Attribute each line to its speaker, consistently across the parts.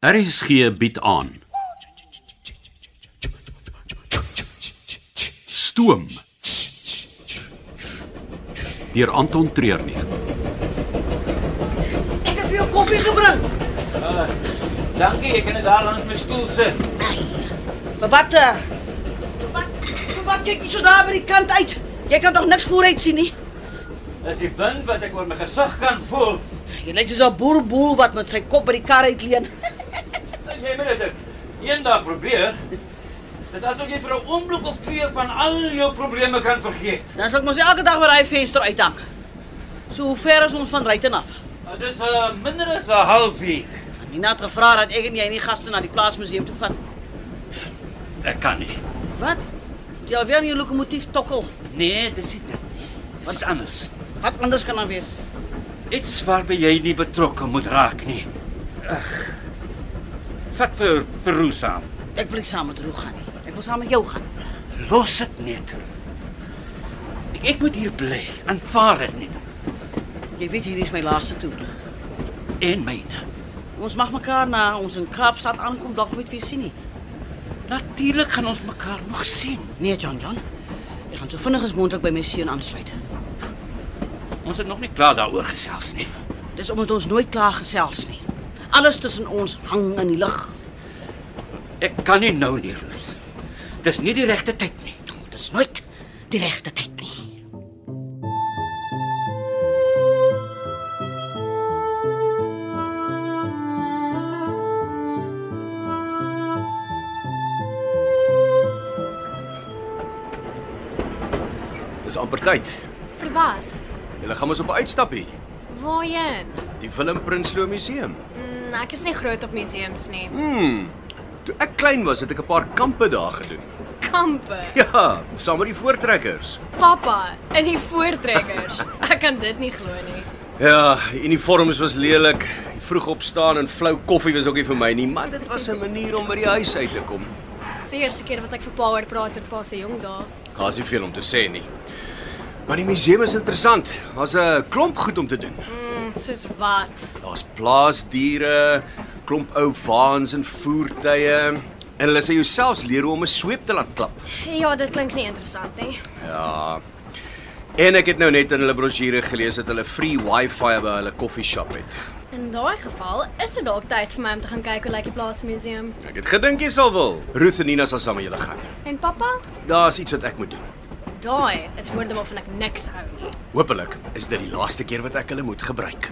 Speaker 1: RSG bied aan. Stoom. Deur Anton Treurnig.
Speaker 2: Ek het vir jou koffie gebring.
Speaker 3: Dankie, ek kan dit daar langs my stoel sit.
Speaker 2: Maar wat eh, wat wat kyk jy so daar by die kant uit? Jy kan tog niks vooruit sien nie.
Speaker 3: Dis die wind wat ek oor my gesig kan voel.
Speaker 2: Jy lyk soos 'n boerboel wat met sy kop by die kar uitleen.
Speaker 3: Dink Jy moet dit eendag probeer. Dis asof jy vir 'n oomblik of twee van al jou probleme kan vergeet.
Speaker 2: Dan sal ek mos elke dag by daai venster uithang. So hoe ver is ons van Ryten af?
Speaker 3: Maar Dis 'n uh, minder as 'n halfuur.
Speaker 2: Nina het gevra dat ek en jy nie gaste na die plaasmuseum toe vat.
Speaker 3: Ek kan nie.
Speaker 2: Wat? Jy alweer met jou lokomotief tokkel.
Speaker 3: Nee, dis nie dit nie. Wat is anders?
Speaker 2: Wat anders kan daar wees?
Speaker 3: Iets waarby jy nie betrokke moet raak nie. Ag. Vat vir Peru saam.
Speaker 2: Ek wil nie saam met Roo gaan nie. Ek wil saam met jou gaan.
Speaker 3: Los dit net. Ek, ek moet hier bly. Aanvaar dit net.
Speaker 2: Jy weet hierdie is my laaste toer.
Speaker 3: En myne.
Speaker 2: Ons mag mekaar na ons in Kaapstad aankom dalk nooit weer sien nie.
Speaker 3: Natuurlik gaan ons mekaar nog sien.
Speaker 2: Nee, John John. Ek gaan so vinnig as moontlik by my seun aansluit.
Speaker 3: Ons het nog nie klaar daaroor gesels nie.
Speaker 2: Dis omdat ons nooit klaar gesels nie. Alles tussen ons hang in die lug.
Speaker 3: Ek kan nie nou nie, Roos. Dis nie die regte tyd nie.
Speaker 2: Oh, dis nooit die regte tyd nie.
Speaker 4: Dis amper tyd.
Speaker 5: Vir wat?
Speaker 4: Julle gaan mos op 'n uitstappie.
Speaker 5: Waarheen?
Speaker 4: Die Willem Prinsloo Museum.
Speaker 5: Mm, ek is nie groot op museums nie.
Speaker 4: Hmm. Toe ek klein was, het ek 'n paar kampe daar gedoen.
Speaker 5: Kampe.
Speaker 4: Ja, saam met die voortrekkers.
Speaker 5: Pappa in die voortrekkers. Ek kan dit nie glo nie.
Speaker 4: Ja, die uniforms was lelik. die Vroeg opstaan en flou koffie was ook nie vir my nie, maar dit was 'n manier om by die huis uit te kom.
Speaker 5: Dis die eerste keer wat ek vir pa oor praat oor pa se jong dae.
Speaker 4: Daar's nie veel om te sê nie. Maar die museum is interessant. Daar's 'n klomp goed om te doen.
Speaker 5: Mm, soos wat?
Speaker 4: Daar's plaasdiere, klomp ou waans en voertuie. En hulle sê jouself leer hoe om 'n sweep te laat klap.
Speaker 5: Ja, dit klink nie interessant nie.
Speaker 4: Ja. En ek het nou net in hulle brosjure gelees dat hulle free Wi-Fi by hulle koffieshop het.
Speaker 5: In daai geval is dit dalk tyd vir my om te gaan kyk hoe lyk die plaasmuseum.
Speaker 4: Ek het gedink jy sal wil. Ruth en Nina sal saam met julle gaan.
Speaker 5: En pappa?
Speaker 4: Daar's iets wat ek moet doen.
Speaker 5: Daai is woorde waarvan ek niks hou nie.
Speaker 4: Hoopelik is dit die laaste keer wat ek hulle moet gebruik.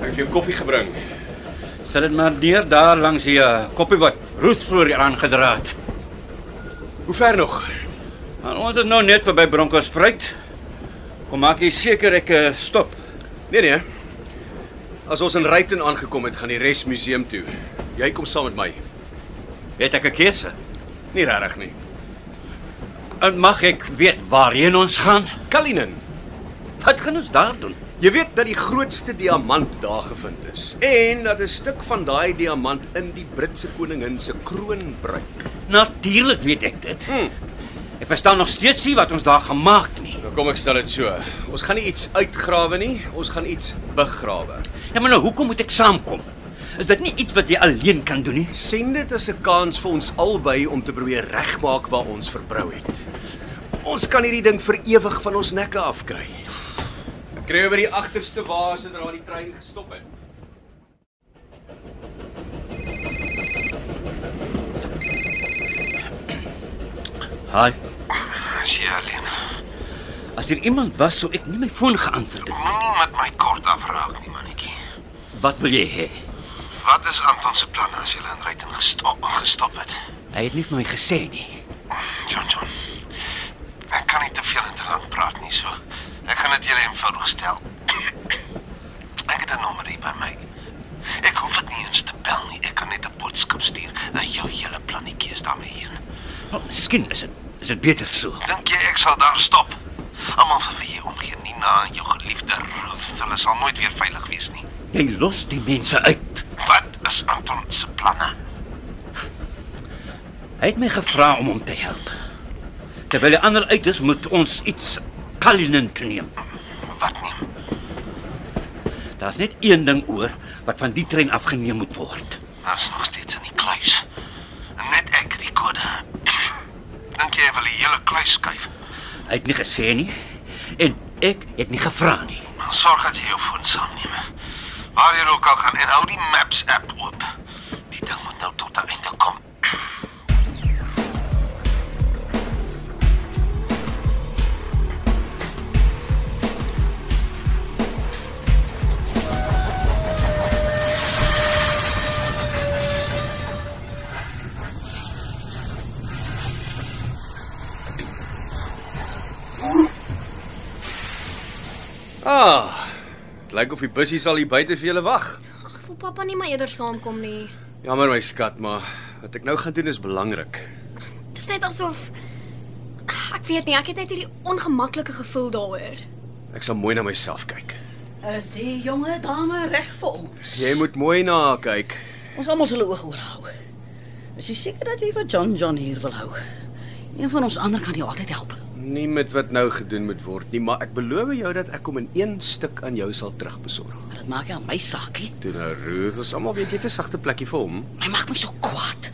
Speaker 4: Ek het vir jou koffie gebring.
Speaker 3: Sit dit maar neer daar langs die uh, koppie wat roesvloer aangedra het.
Speaker 4: Hoe ver nog?
Speaker 3: En ons is nou net verby Bronkhorstspruit. Kom maak jy seker ek uh, stop.
Speaker 4: Nee nee. As ons in Ryten aangekom het, gaan die res museum toe. Jy kom saam met my.
Speaker 3: Het ek 'n keuse?
Speaker 4: Nie regtig nie.
Speaker 3: En mag ek weet waarheen ons gaan?
Speaker 4: Kalinin,
Speaker 3: Wat gaan ons daar doen?
Speaker 4: jy weet dat die grootste diamant daar gevind is en dat 'n stuk van daai diamant in die Britse koningin se kroon breek.
Speaker 3: Natuurlik weet ek dit.
Speaker 4: Hm.
Speaker 3: Ek verstaan nog steeds nie wat ons daar gemaak nie.
Speaker 4: Nou kom ek stel dit so. Ons gaan nie iets uitgrawe nie, ons gaan iets begrawe.
Speaker 3: Ja maar nou, hoekom moet ek saamkom? Is dit nie iets wat jy alleen kan doen nie?
Speaker 4: Sien dit as 'n kans vir ons albei om te probeer regmaak waar ons verbrou het. Ons kan hierdie ding vir ewig van ons nekke afkry. Ek kry oor die agterste wa sodra die trein gestop het.
Speaker 3: Haai.
Speaker 6: As jy alleen.
Speaker 3: As hier iemand was, sou ek nie my foon geantwoord het.
Speaker 6: Moenie met my kort afraak nie, mannetjie.
Speaker 3: Wat wil jy hê?
Speaker 6: Wat is Anton se plan as jy aan Ryten gestop gestop het?
Speaker 3: Hy het nie vir my gesê nie.
Speaker 6: John John. Ek kan nie te veel en te lank praat nie, so. Ek gaan dit julle eenvoudig stel. Ek het 'n nommer hier by my. Ek hoef dit nie eens te bel nie. Ek kan net 'n boodskap stuur en jou hele plannetjie is daarmee heen.
Speaker 3: Wel, miskien is dit is dit beter so.
Speaker 6: Dink jy ek sal daar stop? Almal vir wie jy omgee, Nina en jou geliefde Ruth, hulle sal nooit weer veilig wees nie.
Speaker 3: Jy los die mense uit.
Speaker 6: Wat is Anton se planne?
Speaker 3: Hy het my gevra om hom te help. Terwyl die ander uit is, moet ons iets Kalinin toe neem.
Speaker 6: Wat neem?
Speaker 3: Daar's net een ding oor wat van die trein afgeneem moet word.
Speaker 6: Daar's nog steeds in die kluis. En net ek het die kode. Dink jy hy wil die hele kluis skuif?
Speaker 3: Hy het nie gesê nie en ek het nie gevra nie.
Speaker 6: Maar sorg dat jy jou foon saamneem. Waar jy ook al gaan en hou die Maps app oop. Die ding moet nou tot 'n einde kom.
Speaker 4: Ah. Dit lyk of die bussies al hier buite vir julle wag.
Speaker 5: Ag, wil pappa nie maar eerder saamkom nie.
Speaker 4: Jammer my skat, maar wat ek nou gaan doen is belangrik.
Speaker 5: Dit is net asof Ag, ek weet nie, ek het net hierdie ongemaklike gevoel daaroor.
Speaker 4: Ek sal mooi na myself kyk.
Speaker 2: Is die jonge dame reg vir ons?
Speaker 4: Jy moet mooi na kyk.
Speaker 2: Ons almal sal 'n oog oor hou. Is jy seker dat jy vir John John hier wil hou? Een van ons ander kan jou altyd help.
Speaker 4: Nie met wat nou gedoen moet word nie, maar ek beloof jou dat ek hom in een stuk aan jou sal terugbesorg.
Speaker 2: Maar dit maak nie aan my saak nie.
Speaker 4: Toe nou Ruth, ons almal weet jy het 'n sagte plekkie vir hom.
Speaker 2: Hy maak my so kwaad.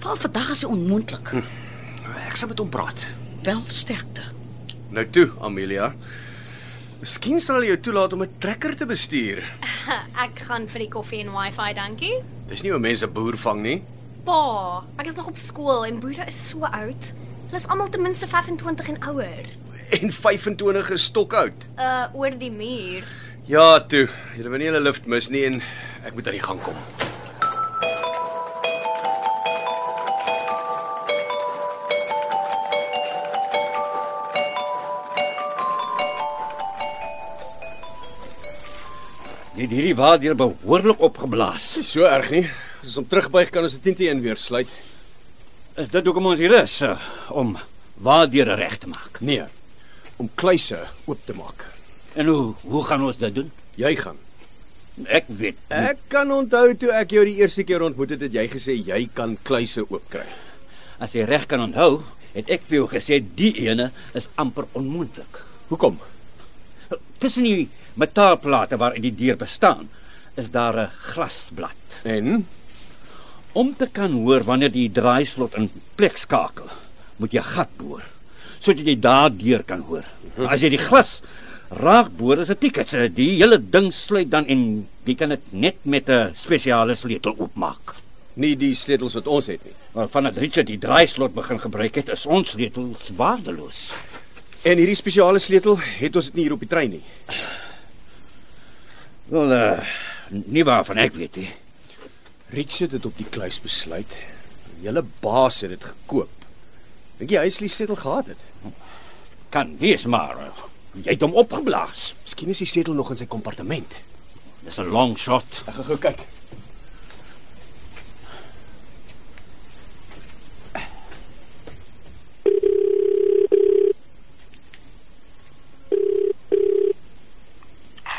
Speaker 2: Val vandag is hy onmoontlik. Hm.
Speaker 4: Ek sal met hom praat.
Speaker 2: Wel sterkte.
Speaker 4: Nou toe, Amelia. Miskien sal hulle jou toelaat om 'n trekker te bestuur.
Speaker 5: Ek gaan vir die koffie en wifi, dankie.
Speaker 4: Dis nie hoe mense boer vang nie.
Speaker 5: Pa, ek is nog op skool en Boeda is so oud. Hulle is almal ten minste 25 en ouer.
Speaker 4: En 25 is stokoud.
Speaker 5: Uh oor die muur.
Speaker 4: Ja, toe. Jy wil nie hulle lift mis nie en ek moet aan die gang kom.
Speaker 3: Net hierdie waardeur behoorlik opgeblaas.
Speaker 4: Dis so erg nie. As ons hom terugbuig kan ons dit teen teen weer sluit.
Speaker 3: Is dit hoekom ons hier is eh, om waardeur reg te maak?
Speaker 4: Nee. Om kluise oop te maak.
Speaker 3: En hoe hoe gaan ons dit doen?
Speaker 4: Jy gaan.
Speaker 3: Ek weet. nie.
Speaker 4: Ek kan onthou toe ek jou die eerste keer ontmoet het, het jy gesê jy kan kluise oopkry.
Speaker 3: As jy reg kan onthou, het ek vir jou gesê die ene is amper onmoontlik.
Speaker 4: Hoekom?
Speaker 3: Tussen die metaalplate waaruit die deur bestaan, is daar 'n glasblad.
Speaker 4: En
Speaker 3: Om te kan hoor wanneer die draaislot in plek skakel, moet jy 'n gat boor sodat jy daardeur kan hoor. As jy die glas raak boor, is dit tikkets. Die hele ding sluit dan en jy kan dit net met 'n spesiale sleutel oopmaak.
Speaker 4: nie die sleutels wat ons het nie.
Speaker 3: Maar vandat Richard die draaislot begin gebruik het, is ons sleutels waardeloos.
Speaker 4: En hierdie spesiale sleutel het ons dit nie hier op die trein nie.
Speaker 3: Wel, uh, nie waarvan ek weet nie.
Speaker 4: Richard het op die kluis besluit. Die hele baas het dit gekoop. Dink jy hy sal die sleutel gehad het?
Speaker 3: Kan wees maar eh, jy het hom opgeblaas.
Speaker 4: Miskien is die sleutel nog in sy kompartement.
Speaker 3: Dis 'n long shot.
Speaker 4: Ek gaan gou kyk.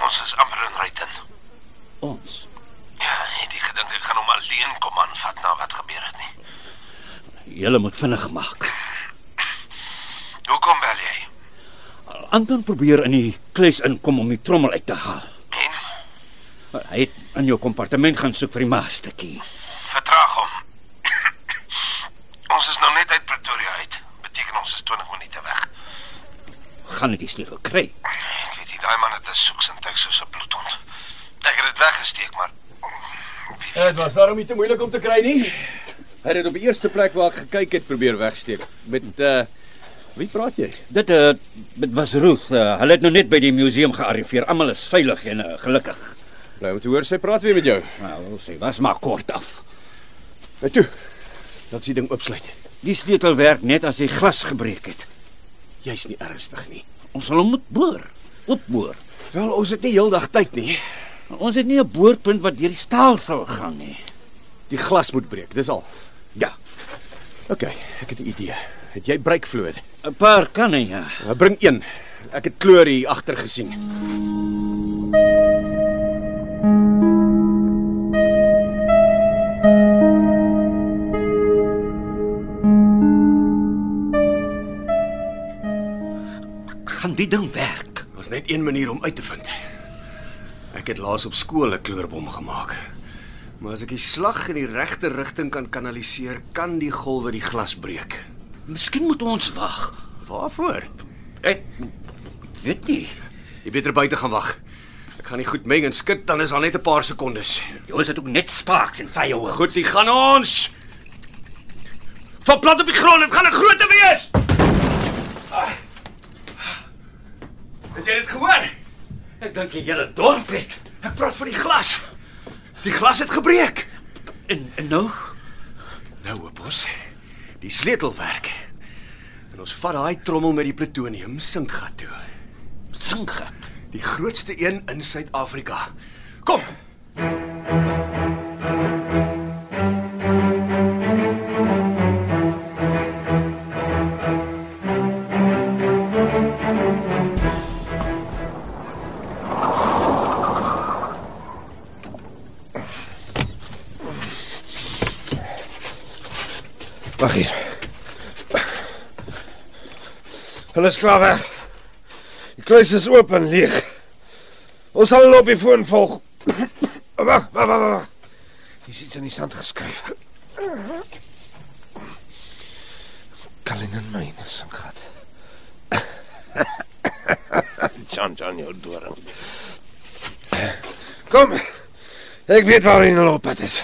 Speaker 6: Ons is amper in Ryten.
Speaker 3: Ons.
Speaker 6: Ja, het jy gedink ek gaan hom alleen kom aanvat na wat gebeur het nie?
Speaker 3: Julle moet vinnig maak.
Speaker 6: Hoekom bel jy?
Speaker 3: Anton probeer in die kluis inkom om die trommel uit te haal.
Speaker 6: En
Speaker 3: Hy het in jou kompartement gaan soek vir die masterkie.
Speaker 6: vertraag hom. ons is nou net uit Pretoria uit. Beteken ons is 20 minute weg.
Speaker 3: Gaan hy die sleutel kry?
Speaker 6: Ek weet nie, daai man het 'n soeksintek soos 'n bloedhond. Ek het dit weggesteek, maar wie weet.
Speaker 4: Dit was daarom nie te moeilik om te kry nie. Hy het dit op die eerste plek waar ek gekyk het probeer wegsteek. Met uh wie praat jy?
Speaker 3: Dit eh, dit was Ruth. eh, Hulle het nou net by die museum gearriveer. Almal is veilig en eh, gelukkig.
Speaker 4: Nou moet hoor sy praat weer met jou.
Speaker 3: Nou, sê, was maar kort af.
Speaker 4: Nou toe. Dat sy ding oopsluit.
Speaker 3: Die sleutel werk net as hy glas gebreek het.
Speaker 4: Jy's nie ernstig nie.
Speaker 3: Ons sal hom moet boor. Oopboor.
Speaker 4: Wel, ons het nie heeldag tyd nie.
Speaker 3: Ons het nie 'n boorpunt wat deur die staal sal gaan nie.
Speaker 4: Die glas moet breek, dis al.
Speaker 3: Ja,
Speaker 4: OK, ek het 'n idee. Het jy breekvloed?
Speaker 3: 'n paar kan hy. Ja.
Speaker 4: Nou, Bring een. Ek het kleur hier agter gesien.
Speaker 3: gaan die ding werk?
Speaker 4: Daar's net een manier om uit te vind. Ek het laas op skool 'n kleurbom gemaak. Maar as ek die slag in die regte rigting kan kanaliseer, kan die golwe die glas breek.
Speaker 3: Miskien moet ons wag.
Speaker 4: Waarvoor? Hey,
Speaker 3: Weet nie.
Speaker 4: jy beter buite gaan wag. Ek gaan nie goed meng en skud dan is daar net 'n paar sekondes.
Speaker 3: Jy is dit ook net spaaks en vyehoog.
Speaker 4: Goed, die gaan ons. Van plat op die grond, dit gaan 'n grootte wees. Ah. Het jy dit gehoor?
Speaker 3: Ek dink die hele dorp het.
Speaker 4: Ek praat van die glas. Die glas het gebreek.
Speaker 3: En, en nou,
Speaker 4: Nou hoop ons die sleutel werk. En ons vat daai trommel met die plutonium sinkgat toe.
Speaker 3: singe.
Speaker 4: Die grootste een in Suid-Afrika. Kom.
Speaker 6: Wag hier. Hulle is klaar weg. Die kluis is oop en leeg. Ons sal hulle op die foon volg. Wag, wag, wag, wag. Hier is iets in die sand geskryf. Kalinin myne sangat. Jan Jan jou doring. Kom. Ek weet waarheen hulle op pad is.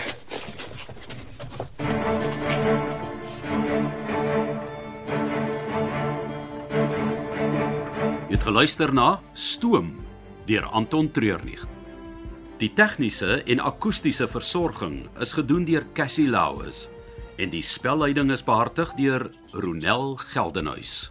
Speaker 1: Jy het geluister na Stoom deur Anton Treurnig. Die tegniese en akoestiese versorging is gedoen deur Cassie Lauis en die spelleiding is behartig deur Ronel Geldenhuys.